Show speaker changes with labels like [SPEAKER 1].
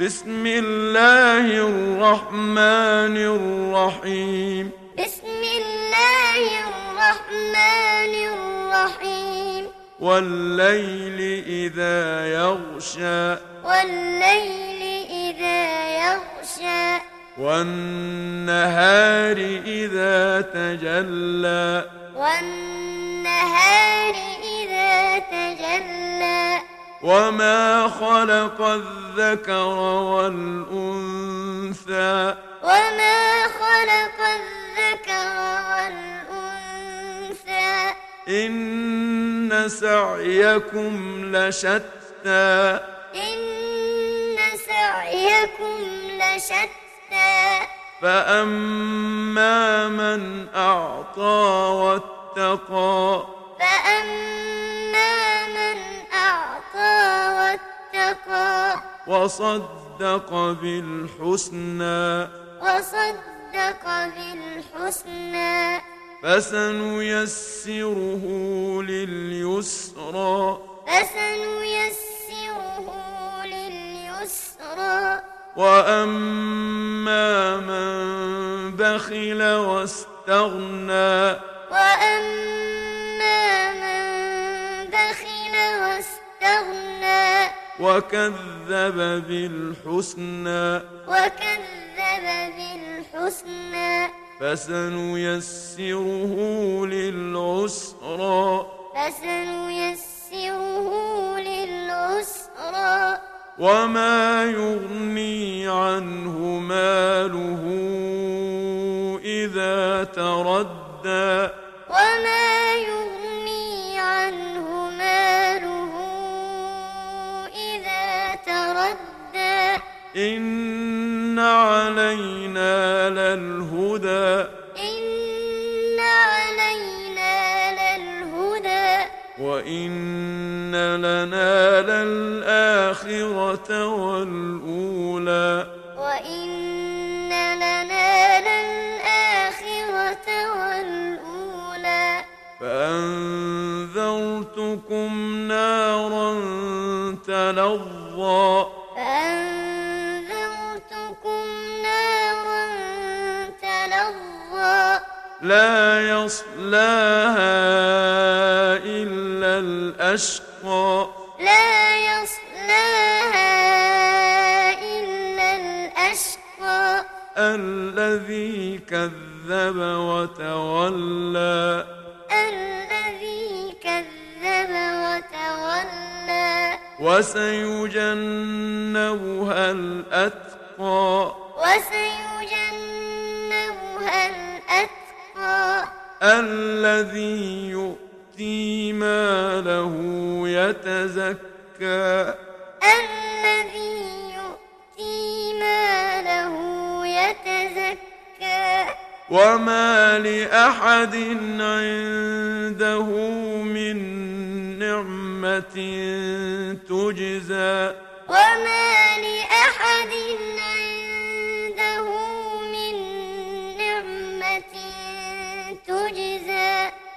[SPEAKER 1] بسم الله الرحمن الرحيم
[SPEAKER 2] بسم الله الرحمن الرحيم
[SPEAKER 1] والليل إذا يغشى
[SPEAKER 2] والليل إذا يغشى
[SPEAKER 1] والنهار إذا تجلى
[SPEAKER 2] والنهار إذا تجلى
[SPEAKER 1] وما خلق الذكر والأنثى
[SPEAKER 2] وما خلق الذكر والأنثى
[SPEAKER 1] إن سعيكم لشتى
[SPEAKER 2] إن سعيكم لشتى
[SPEAKER 1] فأما من أعطى واتقى
[SPEAKER 2] فأما من أعطى واتقى
[SPEAKER 1] وصدق بالحسنى
[SPEAKER 2] وصدق بالحسنى
[SPEAKER 1] فسنيسره لليسرى
[SPEAKER 2] فسنيسره لليسرى
[SPEAKER 1] وأما من بخل واستغنى
[SPEAKER 2] وأما من بخل واستغنى
[SPEAKER 1] وكذب بالحسنى
[SPEAKER 2] وكذب بالحسنى
[SPEAKER 1] فسنيسره للعسرى
[SPEAKER 2] فسنيسره للعسرى
[SPEAKER 1] وما يغني عنه ماله إذا تردى
[SPEAKER 2] وما يغني عنه ماله إذا تردى
[SPEAKER 1] إن علينا للهدى
[SPEAKER 2] إن علينا للهدى
[SPEAKER 1] وإن لنا للآخرة والأولى
[SPEAKER 2] وإن لنا للآخرة والأولى
[SPEAKER 1] فأنذرتكم نارا تلظى
[SPEAKER 2] فأنذرتكم نارا تلظى
[SPEAKER 1] لا يصلاها إلا الأشقى
[SPEAKER 2] لا يصلاها إلا الأشقى
[SPEAKER 1] الذي كذب وتولى
[SPEAKER 2] الذي كذب وتولى
[SPEAKER 1] وسيجنبها الأتقى
[SPEAKER 2] وسيجنبها الأتقى
[SPEAKER 1] الذي يؤتي ماله يتزكى
[SPEAKER 2] الذي يؤتي ماله يتزكى
[SPEAKER 1] وما لأحد عنده من نعمة تجزى
[SPEAKER 2] وما لأحد عنده من نعمة تجزى